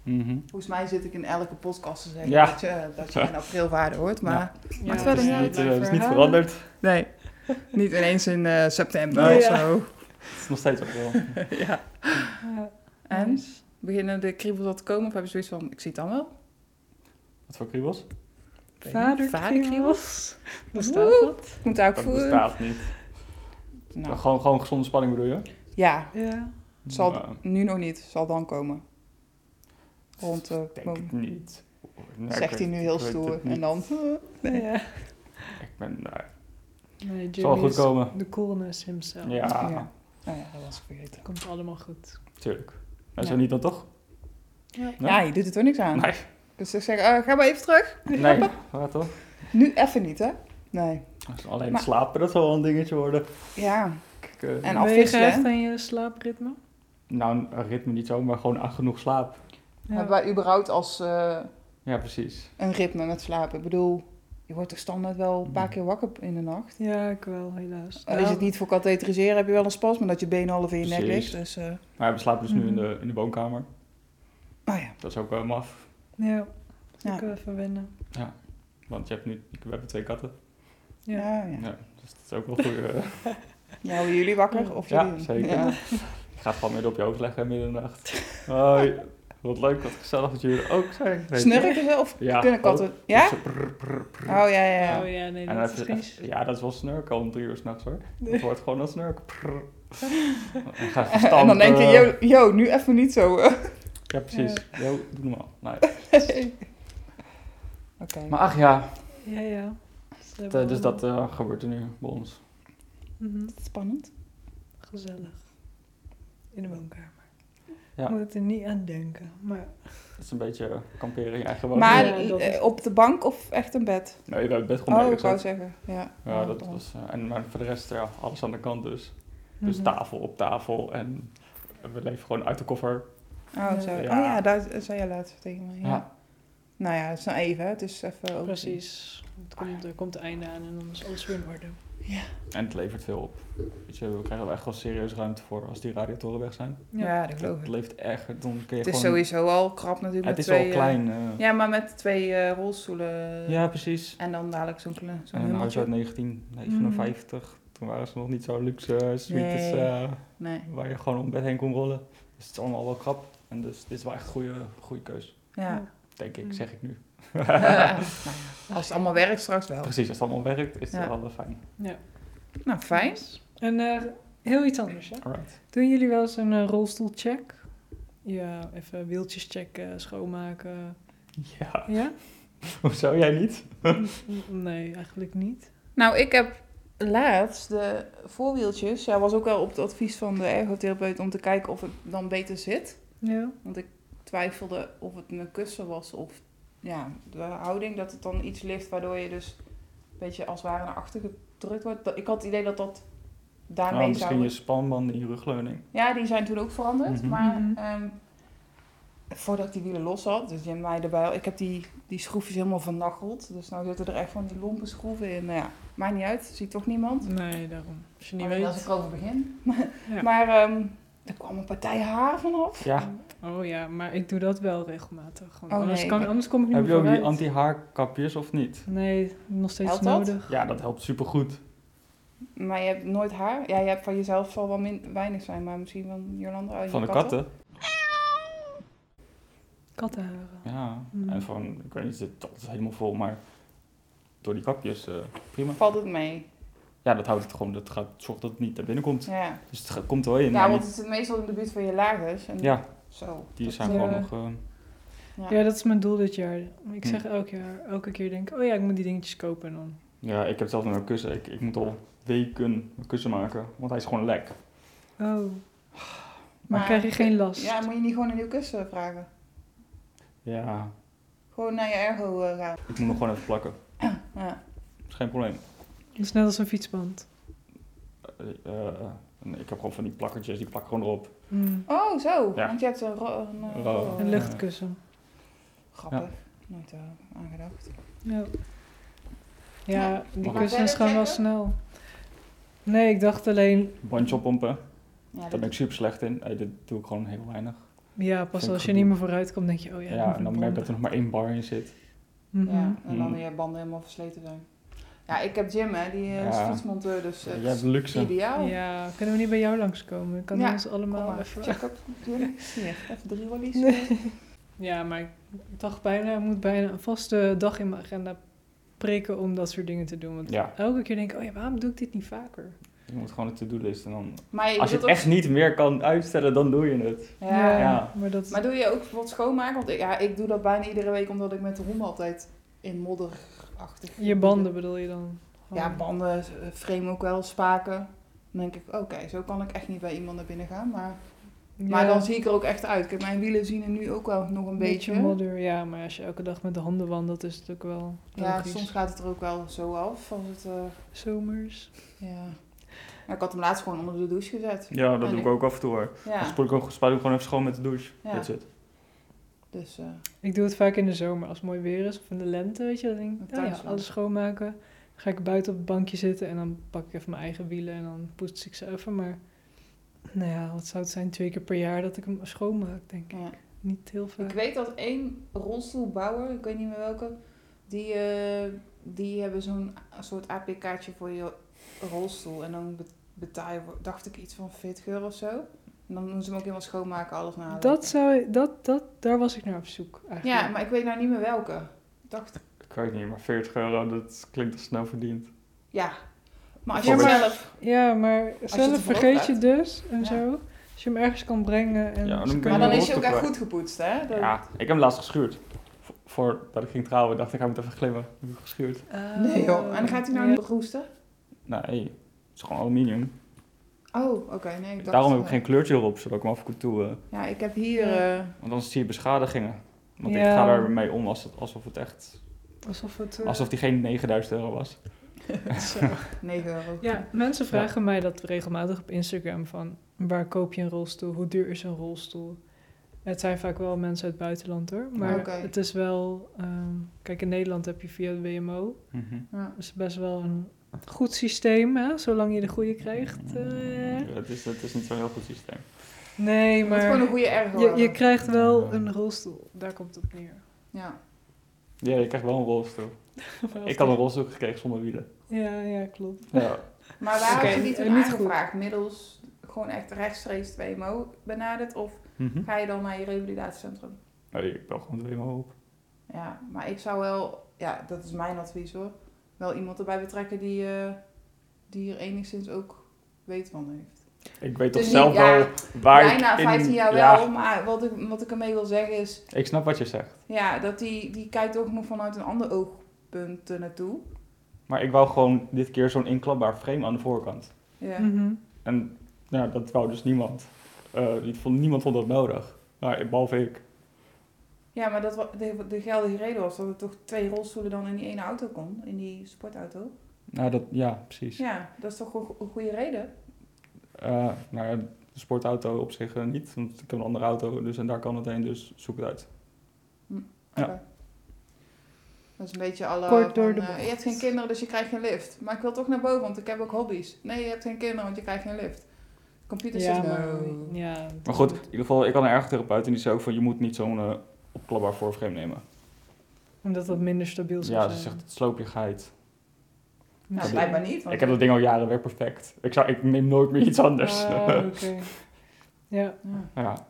Mhm. Volgens mij zit ik in elke podcast te zeggen Ja. dat, je, eh, dat je in april waarde hoort. Maar Ja, Het verder is niet uit, niet, eh, het is niet verhalen. veranderd. nee, niet ineens in eh, september Nee. of Ja. zo. Het is nog steeds april. ja. Ja. En? Nice. Beginnen de kriebels al te komen of hebben ze zoiets van, ik zie het dan wel? Wat voor kriebels? Vaderkriebels. Bestaat Woe. dat? Ik moet daar ook Dat voelen. bestaat niet. Nou, Gewoon, gewoon gezonde spanning bedoel je? ja, Ja. het zal Nou, nu nog niet. Het zal dan komen. Rond eh, denk mom- het niet. Nee, ik zegt weet- hij nu heel ik weet stoer. het niet. En dan... Nee. Ja. Ik ben, nou, Nee, het zal wel Jimmy goed is komen. De coolness himself. Ja, Ja. Oh ja, dat was ik vergeten. Komt allemaal goed. tuurlijk. Maar Ja. zo niet dan toch? Nee? Ja, je doet er toch niks aan. Nee, Dus ze zeggen, eh, ga maar even terug. nee. Ja, toch? Nu even niet, hè? Nee. Als we Alleen Maar- slapen, dat zal wel een dingetje worden. Ja, Ik, eh, En ben je afwisselen, hè? gehecht aan je slaapritme? nou, een ritme niet zo, maar gewoon ah, genoeg slaap. hebben wij überhaupt als eh, Ja, precies. een ritme met slapen? Ik bedoel, je wordt toch standaard wel Mm. een paar keer wakker in de nacht? Ja, ik wel, helaas. Al is het niet voor katheteriseren, heb je wel een spas, maar dat je been half in je nek Precies. ligt. Dus, eh Maar we slapen dus nu in Mhm. de, in de woonkamer. oh ja. Dat is ook wel maf. Ja, Ja. ik eh, wil even wennen. Want je hebt nu, we hebben twee katten. Ja. Ja, Ja. ja. dus dat is ook wel goed. eh. Ja, houden jullie wakker? Of Ja, jullie? zeker. Ja. ik ga het gewoon midden op je hoofd leggen, midden in de nacht. Hoi, wat leuk, wat gezellig dat jullie er ook zijn. Weet je. Snurken ze of Ja, kunnen katten? Ja? Dus, eh, prr, prr, prr. Oh ja, ja, ja. Oh ja, nee, En dat dan is even- vies. ja, dat is wel snurken om drie uur s'nachts hoor. Nee. Dat wordt gewoon een snurk. Prr. En ga even En dan stampen. denk je, yo, yo, nu even niet zo. eh. Ja, precies. Yo, doe normaal. Nee. Oké. Maar ach ja, Ja, ja. Ze d- hebben dus allemaal- dat eh, gebeurt er nu bij ons. Mhm. Spannend. Gezellig. In de woonkamer. Ja. Moet het er niet aan denken. Maar Het is een beetje eh, kamperen in je eigen woning. Maar Ja, dat is- eh, op de bank of echt een bed? Nee, we hebben het bed gewoon Oh, ik neergezet. wou zeggen. Ja, Ja, Oh, dat dan. was... eh, en, maar voor de rest, ja, alles aan de kant dus. Dus Mhm. tafel op tafel en we leven gewoon uit de koffer. Oh, zo. Ja. oh ja, daar zei je laatst tegen me. Ja. Ja. Nou ja, het is nou even. hè. Het is even ook. Precies. Het komt, er komt einde aan en dan is alles weer in orde. En het levert veel op. Weet je, we krijgen er echt wel serieus ruimte voor als die radiatoren weg zijn. Ja, dat geloof Het ik. leeft echt, dan kun je Het is gewoon... sowieso al krap natuurlijk. het met is twee, wel eh, klein. eh, ja. ja, maar met twee eh, rolstoelen. precies. En dan dadelijk zo'n klein. Zo'n En een huis hummeltje. uit 1959. Toen waren ze nog niet zo luxe eh, suites Nee. eh, Nee. waar je gewoon om bed heen kon rollen. Dus het is allemaal wel krap. En dus dit is wel echt een goede, goede keus. Ja. Denk ik, Mm. zeg ik nu. Eh, nou ja, als het allemaal werkt straks wel. Precies, als het allemaal werkt, is het Ja. wel wel fijn. Nou, fijn. En eh, heel iets anders, hè? Alright. Doen jullie wel eens een eh, rolstoelcheck? Ja, even wieltjes checken, schoonmaken. Ja, Ja? hoezo jij niet? N- Nee, eigenlijk niet. Nou, ik heb laatst de voorwieltjes. Ja, was ook wel op het advies van de ergotherapeut om te kijken of het dan beter zit. Ja. Want ik twijfelde of het een kussen was of ja, de houding. Dat het dan iets ligt waardoor je dus een beetje als het ware naar achter gedrukt wordt. Dat- Ik had het idee dat dat daarmee Nou, zou... misschien je spanbanden in je rugleuning. Ja, die zijn toen ook veranderd. Mhm. Maar Mhm. ehm, voordat ik die wielen los had, dus Jim mij erbij... Ik heb die, die schroefjes helemaal vernacheld. Dus nou zitten er echt van die lompe schroeven in. Nou ja, maakt niet uit. Ziet toch niemand. Nee, daarom. Als je niet Alleen als weet. ik over begin. Ja. Maar ehm, er kwam een partij haar vanaf. Ja, Oh ja, maar ik doe dat wel regelmatig. Want Oh, anders, nee, kan, ik- anders kom ik niet Heb je meer ook die vooruit. anti-haarkapjes of niet? Nee, nog steeds Helpt dat? nodig. Ja, dat helpt supergoed. Maar je hebt nooit haar? Ja, je hebt van jezelf zal wel min weinig zijn, maar misschien van Jolanda uit je Van de katten? katten. Kattenharen. Ja. Mm. En van, ik weet niet, het- dat is helemaal vol, maar door die kapjes, eh, prima. Valt het mee? Ja, dat houdt het gewoon, dat gaat, zorgt dat het niet naar binnen komt. Ja. Dus het gaat- komt er wel in. Ja, maar want het zit meestal in de buurt van je lagers. En niet- ja Zo. die Dat, zijn eh, gewoon nog... eh, Ja. Ja, dat is mijn doel dit jaar. Ik Hm. zeg elk jaar, elke keer denk ik, oh ja, ik moet die dingetjes kopen. En dan ja, ik heb zelf nog een kussen. Ik, ik moet al weken een kussen maken, want hij is gewoon lek. Oh. Maar, krijg je geen last? Ja, moet je niet gewoon een nieuw kussen vragen? Ja, Gewoon naar je ergo eh, gaan. Ik moet nog gewoon even plakken. Ja. Is geen probleem. Het is net als een fietsband. Eh, eh, ik heb gewoon van die plakkertjes, die plak ik gewoon erop. Mm. Oh, zo. Ja. Want je hebt een... ro- een, eh, Ro- ro- Een luchtkussen. Grappig. Nooit eh, aangedacht. Ja, ja die Mag ik kussens verder gaan wel checken? snel. Nee, ik dacht alleen, Bandje oppompen, Ja, daar dat- ben ik super slecht in. Eh, dit doe ik gewoon heel weinig. ja, pas Vind ik als je goed. niet meer vooruit komt, denk je, oh ja. Ja, en dan merk ik dat er nog maar één bar in zit. Mhm. Ja, en dan Mhm. je banden helemaal versleten zijn. Ja, ik heb Jim, hè. Die eh, is Ja. fietsmonteur, dus Ja, eh, jij het hebt is luxe. ideaal. Ja, kunnen we niet bij jou langskomen? Ik kan Oh. Ja, ons Kom allemaal maar, even... check-up. Jim. Hier, even drie rollies. Ja, maar ik dacht bijna, ik moet bijna een vaste dag in mijn agenda prikken om dat soort dingen te doen. Want Ja, elke keer denk ik, oh ja, waarom doe ik dit niet vaker? je moet gewoon een to-do-list en dan... Maar je Als je doet het ook- echt niet meer kan uitstellen, dan doe je het. Ja. Ja. Maar dat... Maar doe je ook bijvoorbeeld schoonmaken? Want ik, ja, ik doe dat bijna iedere week omdat ik met de honden altijd in modderachtig... Je banden bedoel je dan? Oh. Ja, banden, eh, frame ook wel, spaken. Dan denk ik, oké, zo kan ik echt niet bij iemand naar binnen gaan. Maar, maar Ja, dan zie ik er ook echt uit. Kijk, mijn wielen zien er nu ook wel nog een beetje. modder, ja. Maar als je elke dag met de handen wandelt, is het ook wel ja, logisch. soms gaat het er ook wel zo af. Als het, eh, Zomers. ja. Maar ik had hem laatst gewoon onder de douche gezet. Ja, dat Nee. doe ik ook af en toe hoor. Dan Ja, spoel Dus ik, ook, spoel ik gewoon even schoon met de douche. Ja. That's it. dus eh, Ik doe het vaak in de zomer als het mooi weer is of in de lente, weet je. Dan denk Een ik, oh ja, tuinzorg. alles schoonmaken. Dan ga ik buiten op het bankje zitten en dan pak ik even mijn eigen wielen en dan poets ik ze even. Maar nou ja, wat zou het zijn? Twee keer per jaar dat ik hem schoonmaak, denk ik. ja. Niet heel Ik vaak. weet dat één rolstoelbouwer, ik weet niet meer welke, die, eh, die hebben zo'n a- soort APK-kaartje voor je rolstoel. En dan be- betaal je, voor- dacht ik, iets van 40 euro of zo. En dan doen ze hem ook helemaal schoonmaken, alles na. Dat zou, dat, dat, daar was ik naar op zoek eigenlijk. Ja, maar ik weet nou niet meer welke. Ik Dacht, Ik weet niet, maar 40 euro, dat klinkt al snel verdiend. ja. Maar als Ja, je maar- zelf... Ja, maar het zelf ervoor vergeet opgaat. je dus en Ja. zo. Als je hem ergens kan brengen en Ja, dan ben ze Maar kunnen- dan je is je ook echt rolstoel goed gepoetst, hè? Dat- Ja, ik heb hem laatst geschuurd. Vo- Voordat ik ging trouwen, dacht ik, hij moet even glimmen. Ik heb hem geschuurd. Ah, Nee joh. En dan gaat hij nou Oh, ja. niet roesten? Nee, het is gewoon aluminium. Oh, oké. nee, ik dacht, Daarom heb ik eh, geen kleurtje erop, zodat ik hem af kon toe... eh, Ja, ik heb hier... Ja. eh, want anders zie je beschadigingen. Want Ja. ik ga daarmee om als het- alsof het echt... Alsof het... eh, Alsof die geen 9000 euro was. zo. 9 euro. Ja, mensen vragen mij dat regelmatig op Instagram van waar koop je een rolstoel? Hoe duur is een rolstoel? Het zijn vaak wel mensen uit het buitenland hoor. Maar Oké. het is wel. ehm, kijk, in Nederland heb je via het WMO. Ja. Dat is best wel een goed systeem, hè? zolang je de goede krijgt. eh. Ja, het, is, het is niet zo'n heel goed systeem. Nee, Je moet gewoon een maar goede ergo je, je hebben. krijgt wel een rolstoel. Daar komt het op neer. Ja. Ja, je krijgt wel een rolstoel. Ik had een rolstoel gekregen zonder wielen. Ja, ja, klopt. Ja. Maar waarom Oké, had je die toen eh, niet aangevraagd? Middels gewoon echt rechtstreeks 2MO benaderd? Of Mhm. ga je dan naar je revalidatiecentrum? Nee, ik bel gewoon twee helemaal op. Ja, maar ik zou wel... Ja, dat is mijn advies hoor. Wel iemand erbij betrekken die, eh, die er enigszins ook weet van heeft. Ik weet toch Dus zelf niet- ja, wel waar ik Bijna in- 15 jaar ja, wel, maar wat ik, wat ik ermee wil zeggen is... Ik snap wat je zegt. Ja, dat die, die kijkt ook nog vanuit een ander oogpunt er naartoe. Maar ik wou gewoon dit keer zo'n inklapbaar frame aan de voorkant. Ja. Mhm. En nou, dat wou dus niemand. Eh, die vond, niemand vond dat nodig. Nou, behalve ik. ja, maar dat, wa- de, de geldige reden was dat er toch twee rolstoelen dan in die ene auto kon. In die sportauto. Nou, dat, ja, precies. Ja, dat is toch een go- een goede reden? Eh, nou, de sportauto op zich eh, niet, want ik heb een andere auto, dus en daar kan het heen, dus zoek het uit. Ja. Oké. Dat is een beetje alle. Kort door van, de eh, bocht. je hebt geen kinderen, dus je krijgt geen lift. Maar ik wil toch naar boven, want ik heb ook hobby's. Nee, je hebt geen kinderen, want je krijgt geen lift. Computer Ja, zegt maar, no. ja, Maar goed, in ieder geval, ik had een ergotherapeut en die zei ook van, je moet niet zo'n eh, opklapbaar voorframe nemen. Omdat dat minder stabiel zou Ja, ze zijn. zegt, het sloopigheid. Nou, dat- blijkbaar niet. Want Ik heb dat ding al jaren weer perfect. Ik, zou, ik neem nooit meer iets Oh. anders. Ah, oké. Ja. Ja. Nou ja.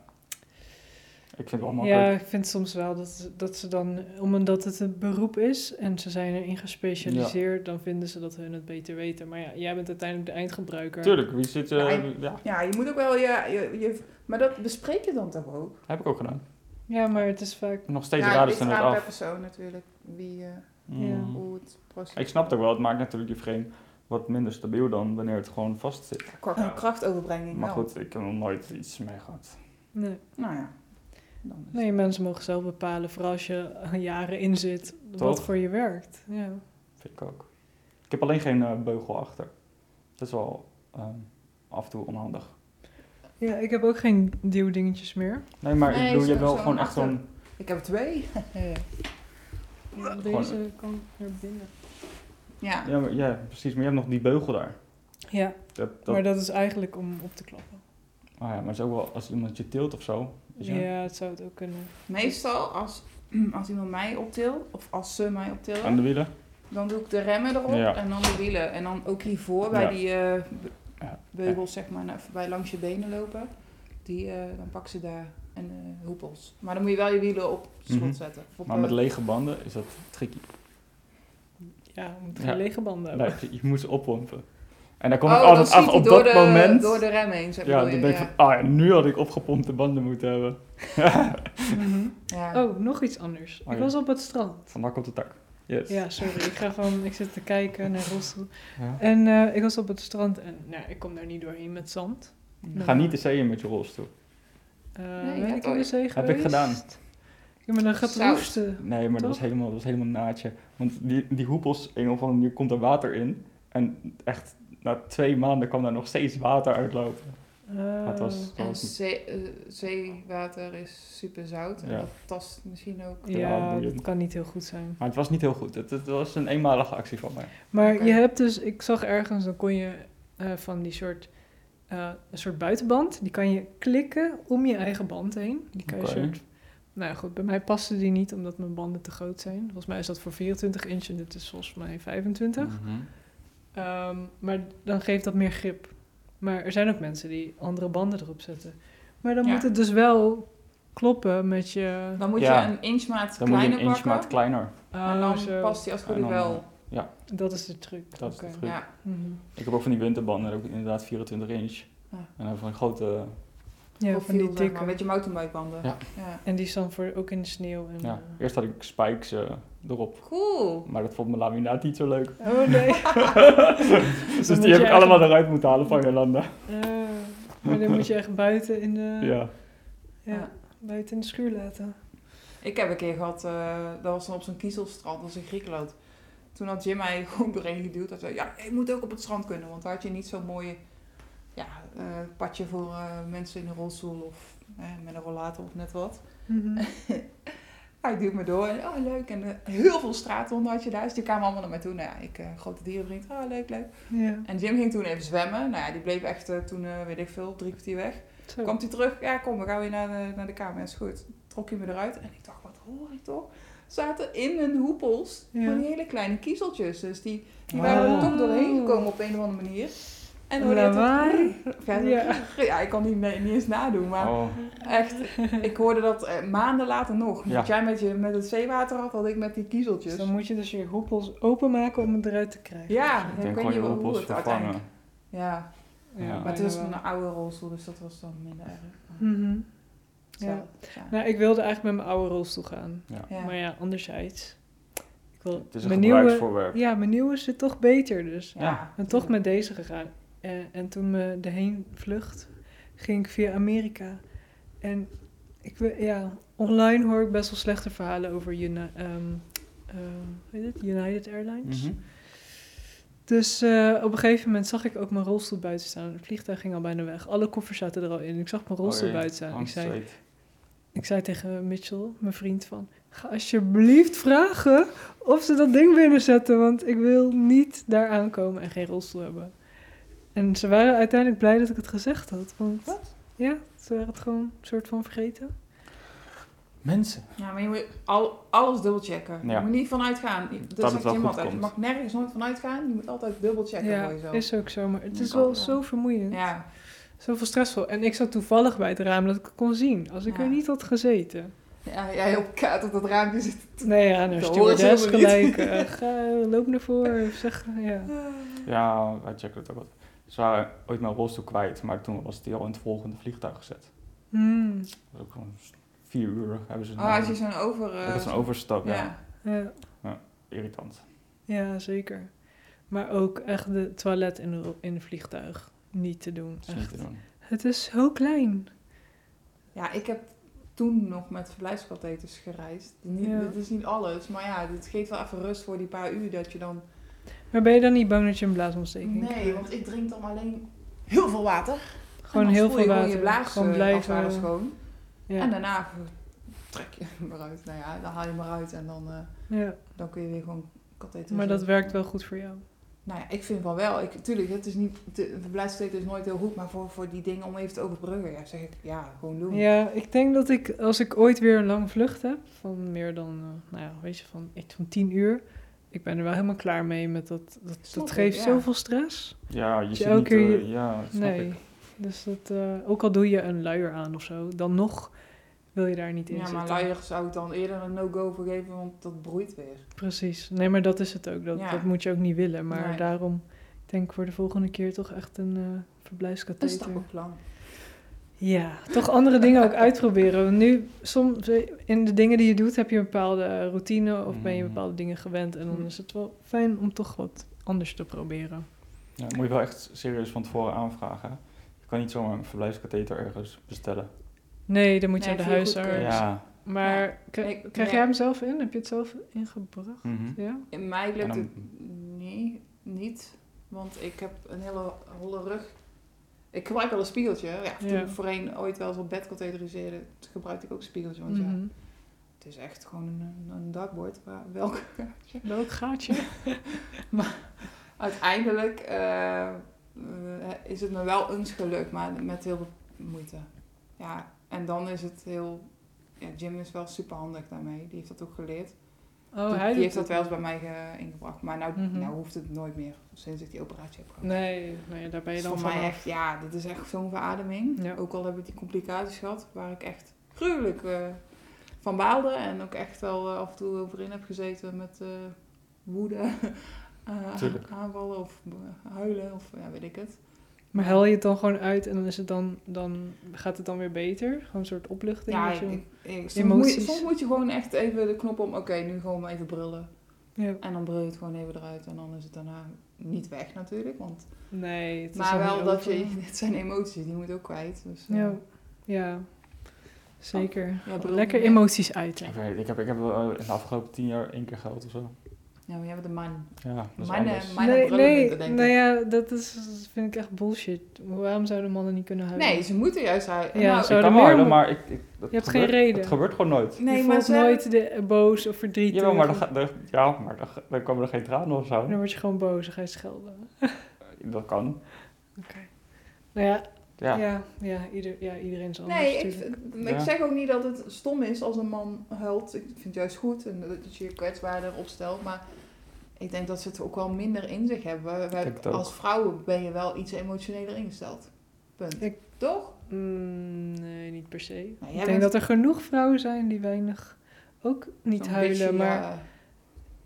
Ik vind het wel makkelijk. Ja, ik vind soms wel dat, ze- dat ze dan, omdat het een beroep is en ze zijn erin gespecialiseerd, dan vinden ze dat hun het beter weten. Maar ja, jij bent uiteindelijk de eindgebruiker. Tuurlijk, wie zit... eh, Ja, ik- ja, Ja, je moet ook wel. Ja, je, je, maar dat bespreek je dan toch ook? heb ik ook gedaan. Ja, maar het is vaak. Nog steeds ja, raden ligt ze het eraan per af. persoon natuurlijk. Wie, eh Mm. hoe het proces. Ik snap het ook wel, het maakt natuurlijk die frame wat minder stabiel dan wanneer het gewoon vast zit. Qua krachtoverbrenging. Maar wel. goed, ik heb nog nooit iets mee gehad. Nee. Nou ja. Dan is het- Nee, mensen mogen zelf bepalen, vooral als je er jaren in zit, wat Toch? voor je werkt. Ja. Vind ik ook. Ik heb alleen geen eh, beugel achter. Dat is wel ehm, af en toe onhandig. ja, ik heb ook geen duwdingetjes meer. Nee, maar Nee, ik bedoel, is je hebt toch wel zo'n gewoon echt achter. zo'n... Ik heb er twee. Deze kan naar binnen. ja. Ja, maar, ja, precies. Maar je hebt nog die beugel daar. Ja, Dat, dat, maar dat is eigenlijk om op te klappen. Ah ja, maar het is ook wel als iemand je tilt of zo. Weet je? Ja, het zou het ook kunnen. Meestal als, als iemand mij optilt, of als ze mij Aan de optillen, wielen. dan doe ik de remmen erop Ja. en dan de wielen. En dan ook hiervoor bij Ja. die eh, be- Ja. beugels, zeg maar, nou, bij langs je benen lopen. Die, eh, dan pak ze daar en eh, hoepels. Maar dan moet je wel je wielen op slot Mhm. zetten. Of Op, Maar met eh, lege banden is dat tricky. Ja, we moeten Ja. geen lege banden hebben. Nee, je moet ze oppompen. En daar kom ik oh, altijd dan af schiet op hij door dat de, moment. Door de rem heen, zeg ja, maar. dan Ja, denk ik ja. van, ah ja, nu had ik opgepompte banden moeten hebben. Mhm. Ja. Oh, nog iets anders. Oh, ik ja. Dus- was op het strand. Van hak op de tak. Yes. Ja, sorry. Ik ga gewoon, ik zit te kijken naar rolstoel. Ja. En eh, ik was op het strand en nou, ik kom daar niet doorheen met zand. Ga niet de zeeën met je rolstoel. Eh Nee, ja, ben ik in de ooit. zee geweest? Heb ik gedaan. Ja, maar dan gaat het Zout. roesten. Nee, maar dat was Toch? helemaal, dat was helemaal naadje. Want die, die hoepels, een of andere manier komt er water in. En echt, na twee maanden kwam daar nog steeds water uitlopen. Eh, Dat was, dat En was zee- eh, zeewater is super zout. En Ja. dat tast misschien ook. Ja, Eh, ja, boeiend. dat kan niet heel goed zijn. maar het was niet heel goed. Het, het was een eenmalige actie van mij. Maar Oké. je hebt dus, ik zag ergens, dan kon je eh, van die soort, eh, een soort buitenband, die kan je klikken om je eigen band heen. Die kan Oké. je soort, nou ja, goed, bij mij paste die niet omdat mijn banden te groot zijn. Volgens mij is dat voor 24 inch en dit is volgens mij 25. Mm. Ehm, maar dan geeft dat meer grip. Maar er zijn ook mensen die andere banden erop zetten. Maar dan Ja. moet het dus wel kloppen met je... Dan moet Ja. je een Dan moet inchmaat je kleiner een pakken. inch maat kleiner. Oh, En dan zo. past die als het goed En is dan, eh, wel. Dat is de truc. Dat is de Oké. truc. Ja. Mhm. Ik heb ook van die winterbanden, ook inderdaad 24 inch. Ja. En dan van een grote... Ja, van die dikke. dikke. Met je mountainbikebanden. Ja. En die staan voor ook in de sneeuw. En, Ja. eh, Eerst had ik spikes eh, erop, Cool. maar dat vond mijn laminaat niet zo leuk. Oh nee. Dus moet die je heb ik echt- allemaal eruit moeten halen van Jolanda. Eh, maar dan moet je echt buiten in de, ja. Ja. buiten in de schuur laten. Ik heb een keer gehad, eh, dat was dan op zo'n kiezelstrand, dat was in Griekenland. Toen had Jim mij gewoon doorheen geduwd. Hij zei, ja, je moet ook op het strand kunnen. Want daar had je niet zo'n mooi ja, eh, padje voor eh, mensen in een rolstoel of eh, met een rollator of net wat. Mhm. Hij duwt me door en oh leuk. En eh, heel veel straathonden had je daar. Dus die kwamen allemaal naar mij toe. Nou ja, ik eh, grote dierenvriend. Oh leuk, leuk. Ja. En Jim ging toen even zwemmen. Nou ja, die bleef echt eh, toen, eh, weet ik veel, drie kwartier weg. Zo. Komt hij terug? Ja, kom, we gaan weer naar de, naar de kamer. Is goed. Trok hij me eruit en ik dacht, wat hoor ik toch? Zaten in mijn hoepels Ja. Oh. van die hele kleine kiezeltjes. Dus die, die Ah. waren er toch doorheen gekomen op een of andere manier. En hoorde je het- Lawaai. Verder- Ja. Ja, ik kan niet, me- niet eens nadoen, maar Oh, echt, ik hoorde dat eh, maanden later nog. Ja. Wat jij met, je, met het zeewater had, had ik met die Dus kiezeltjes. dan moet je dus je hoepels openmaken om het eruit te krijgen. Ja, ik ik, denk weet gewoon niet je eh, wel hoe hoepels het uiteindelijk... vervangen. Oh, Ja, Ja. maar bijna het was wel. een oude rolstoel, dus dat was dan minder erg. Maar Mhm. Ja. hetzelfde, ja. Nou, ik wilde eigenlijk met mijn oude rolstoel gaan. Ja. Maar ja, anderzijds. Ik wil, Het is een mijn nieuwe, gebruiksvoorwerp. ja, mijn nieuwe zit toch beter dus. Ja. En toch met deze gegaan. Eh, en toen me de heenvlucht ging ik via Amerika. En ik, we- ja, online hoor ik best wel slechte verhalen over Uni- ehm, ehm, hoe heet het? United Airlines. Mhm. Dus eh, op een gegeven moment zag ik ook mijn rolstoel buiten staan. Het vliegtuig ging al bijna weg. Alle koffers zaten er al in. Ik zag mijn rolstoel Oh, ja, ja. buiten staan. Ik Angst, zei, zweet. ik zei tegen Mitchell, mijn vriend, van... Ga alsjeblieft vragen of ze dat ding binnenzetten, want ik wil niet daar aankomen en geen rolstoel hebben. En ze waren uiteindelijk blij dat ik het gezegd had, want... Wat? Ja, ze waren het gewoon een soort van vergeten. Mensen. Ja, maar je moet al, alles dubbelchecken. Ja. Je moet niet vanuit gaan. Dat, het zegt wel Jim goed altijd. Je komt. mag nergens nooit vanuit gaan. Je moet altijd dubbelchecken ja, voor jezelf. is ook zo, maar het Ja, is kan wel wel. zo vermoeiend. Ja, Zoveel stressvol. En ik zat toevallig bij het raam dat ik het kon zien, als ik Ja. er niet had gezeten. ja jij op kaart op dat raampje zit. Nee, ja, nou, Dat horen ze stewardess helemaal niet. gelijk. eh, ga, loop naar voren, of zeg, ja. Ja, wij checken het ook wat. Ze waren ooit mijn rolstoel kwijt, maar toen was die al in het volgende vliegtuig gezet. Hmm, Dat was ook gewoon vier uur hebben ze Oh, als je zo'n over... eh, Dat is een overstap, ja. ja. ja. Irritant. Ja, zeker. Maar ook echt de toilet in de, in het vliegtuig niet te doen. Dat is niet Echt. te doen. Het is zo klein. Ja, ik heb toen nog met verblijfskatheters gereisd. Niet, Ja. Dit is niet alles, maar ja, dit geeft wel even rust voor die paar uur dat je dan... Maar ben je dan niet bang dat je een blaasontsteking Nee, krijgt? want ik drink dan alleen heel veel water. Gewoon En dan heel spoel je veel water. Gewoon je blaas Gewoon eh, blijven- als het ware schoon. Ja. En daarna trek je hem eruit. Nou ja, dan haal je hem eruit en dan, eh, ja. dan kun je weer gewoon katheter. Maar dat werkt wel goed voor jou. Nou ja, ik vind van wel. Ik, tuurlijk, het is niet, te- verblijfsketen is nooit heel goed, maar voor, voor die dingen om even te overbruggen, ja, zeg ik, ja, gewoon doen. Ja, ik denk dat ik, als ik ooit weer een lange vlucht heb, van meer dan, eh, nou ja, weet je, van, echt van tien uur. Ik ben er wel helemaal klaar mee met dat. Dat, Snap dat ik, geeft ja. zoveel stress. Ja, je zit elke niet... keer eh, je- ja, dat snap Nee. ik. Dus dat, eh, ook al doe je een luier aan of zo, dan nog wil je daar niet in Ja, maar zitten. luier zou ik dan eerder een no-go voor geven, want dat broeit weer. Precies. Nee, maar dat is het ook. Dat, Ja. dat moet je ook niet willen. Maar Nee. daarom ik denk ik voor de volgende keer toch echt een eh Een verblijfskatheter. stappenplan. Ja, toch andere dingen ook uitproberen. Want Nu, soms eh, in de dingen die je doet, heb je een bepaalde eh, routine of ben je Mhm. bepaalde dingen gewend. En dan Mhm. is het wel fijn om toch wat anders te proberen. Ja, moet je wel echt serieus van tevoren aanvragen. hè. Je kan niet zomaar een verblijfskatheter ergens bestellen. Nee, dan moet je Nee, naar de vind je huisarts. goedkeur. Ja. Maar kri- Nee, krijg ja. jij hem zelf in? Heb je het zelf ingebracht? mhm. Ja? In mij lukt En dan- het niet, niet, want ik heb een hele holle rug. Ik gebruik wel een spiegeltje. Ja, toen Ja. ik voorheen ooit wel eens op bed katheteriseerde, gebruikte ik ook een spiegeltje. Want ja, Mhm. het is echt gewoon een, een dakbord. Waar, welk Welk gaatje? Uiteindelijk eh, eh, is het me wel eens gelukt, maar met heel veel moeite. Ja, en dan is het heel... Ja, Jim is wel super handig daarmee. Die heeft dat ook geleerd. Oh, die hij die doet heeft dat het. wel eens bij mij ge- ingebracht. Maar nou, Mhm. nou hoeft het nooit meer, sinds ik die operatie heb gehad. Nee, nee, daar ben je Het is dan voor mij vanaf. echt, ja, dit is echt zo'n verademing. Ja. Ook al heb ik die complicaties gehad, waar ik echt gruwelijk eh, van baalde. En ook echt wel eh, af en toe over in heb gezeten met eh, woede, eh, Tuurlijk. aanvallen of eh, huilen of ja, weet ik het. Maar hel je het dan gewoon uit en dan, is het dan, dan gaat het dan weer beter? Gewoon een soort opluchting? Ja, dat je- ik- ik- soms, moet je, Emoties. soms moet je gewoon echt even de knop om, oké, nu gewoon maar even brullen. ja. En dan brul je het gewoon even eruit en dan is het daarna niet weg natuurlijk. Want, Nee, het is maar nog wel niet dat over. je, het zijn emoties, die moet je ook kwijt. Dus, eh, Ja, ja. zeker. Ja, bedoel- Lekker emoties uiten. Ik, weet, ik heb, ik heb eh, in de afgelopen tien jaar één keer geld of zo. ja, maar jij bent een man. Ja, dat is Mijn, eh, anders. mijn- nee, brullen nee, minder, denk ik. nou ja, dat is, dat vind ik echt bullshit. Waarom zouden mannen niet kunnen huilen? Nee, ze moeten juist huilen. Ja, nou, zo- ik zouden kan meer wel huilen, mo- maar ik, ik, dat Je hebt gebeurt- geen reden. Het gebeurt gewoon nooit. je nee, maar voelt ze nooit de, eh, boos of verdrietig. Jawel, maar dan, ga- dan, ja, maar dan, ga- dan komen er geen tranen of zo. Dan word je gewoon boos en ga je schelden. Dat kan. Nou ja, Ja. ja. Ja, ieder, ja iedereen is anders Nee, ik, natuurlijk. ik Ja. zeg ook niet dat het stom is als een man huilt. Ik vind het juist goed en dat je je kwetsbaarder opstelt. Maar ik denk dat ze het ook wel minder in zich hebben. Wij- denk het ook. als vrouwen ben je wel iets emotioneler ingesteld. Punt. Ik- Toch? Nou, Mm, nee, niet per se. jij ik denk bent- dat er genoeg vrouwen zijn die weinig ook niet Zo'n huilen. bitchy, maar eh,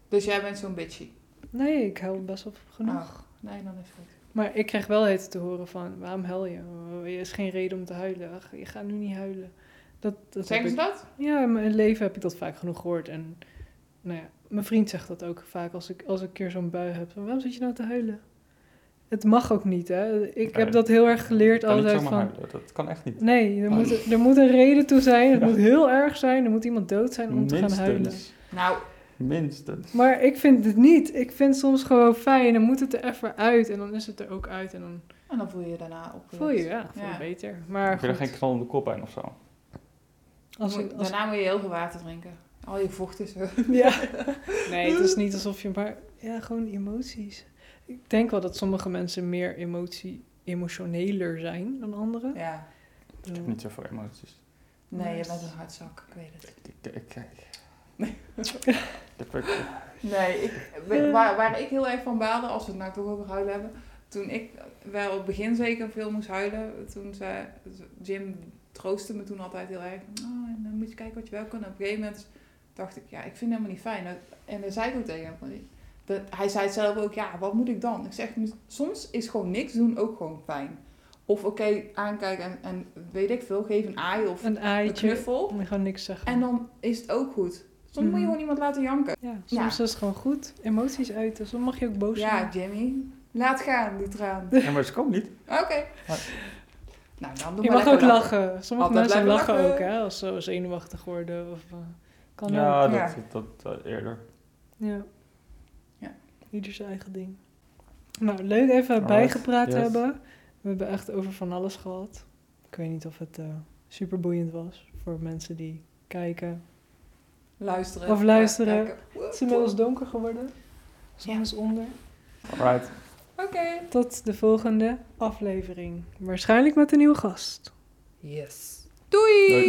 dus jij bent zo'n bitchy. nee, ik huil best wel genoeg. Nee, dan is het goed. Maar ik kreeg wel het te horen van, waarom huil je? Oh, Er is geen reden om te huilen. Ach, Je gaat nu niet huilen. Dat, dat heb Zeggen ze ik, dat? ja, in mijn leven heb ik dat vaak genoeg gehoord. En nou ja, mijn vriend zegt dat ook vaak als ik, als ik een keer zo'n bui heb. Van, waarom zit je nou te huilen? Het mag ook niet, hè. Ik Nee. heb dat heel erg geleerd kan niet altijd zomaar van... huilen. Dat kan echt niet. Nee, er moet, er moet een reden toe zijn. Het Ja. moet heel erg zijn. Er moet iemand dood zijn om te gaan huilen. Minstens. Nou, Minstens. Maar ik vind het niet. Ik vind het soms gewoon fijn. Dan moet het er even uit. En dan is het er ook uit. En dan en dan voel je je daarna eh, opgelucht. Voel je, ja. Voel je Ja. beter. Maar Maar ik er goed, geen knal in de kop aan of zo. als, Moet- als, Daarna moet je heel veel water drinken. Al je vocht is er. ja. Nee, het is niet alsof je maar... Ja, gewoon emoties. Ik denk wel dat sommige mensen meer emotie, emotioneler zijn dan anderen. Ja. Ik Ik heb bedoel, niet zoveel emoties. Nee, je Nice. bent een hartzak. Ik weet het. Ik, ik, ik, ik- Ik heb- ik- Nee, ik, Eh. we- waar, waar ik heel erg van baalde, als we het nou toch over huilen hebben. Toen ik wel op het begin zeker veel moest huilen, toen zei Jim troostte me toen altijd heel erg. Oh, en dan moet je kijken wat je wel kan. En op een gegeven moment dacht ik, ja, ik vind het helemaal niet fijn. En daar zei ik ook tegen hem. van, dat, hij zei zelf ook, ja, wat moet ik dan? Ik zeg, soms is gewoon niks doen ook gewoon fijn. Of oké, aankijken en, en weet ik veel, geef een aai of Een een aaitje. knuffel. En gewoon niks zeggen. En dan is het ook goed. Soms moet je Mhm. gewoon iemand laten janken. ja, soms is het gewoon goed. Emoties uiten. Soms mag je ook boos Ja, zijn. Jimmy. Laat gaan, die traan. Oké. Ja, maar ze komen niet. Nou, dan doe Je maar mag ook lekker lachen. Sommige Altijd mensen blijven lachen, lachen. ook, hè, als ze zo zenuwachtig worden. Of, eh, kan ook. Ja, Ja. dat, dat, eh, eerder. Ja. Ja. Ieder zijn eigen ding. Nou, leuk even Alright, bijgepraat yes. hebben. We hebben echt over van alles gehad. Ik weet niet of het eh super boeiend was voor mensen die kijken. Luisteren. Of luisteren. Kijken. Het is inmiddels donker geworden. Zon Ja. is onder. Alright, Oké. Tot de volgende aflevering. Waarschijnlijk met een nieuwe gast. Yes. doei.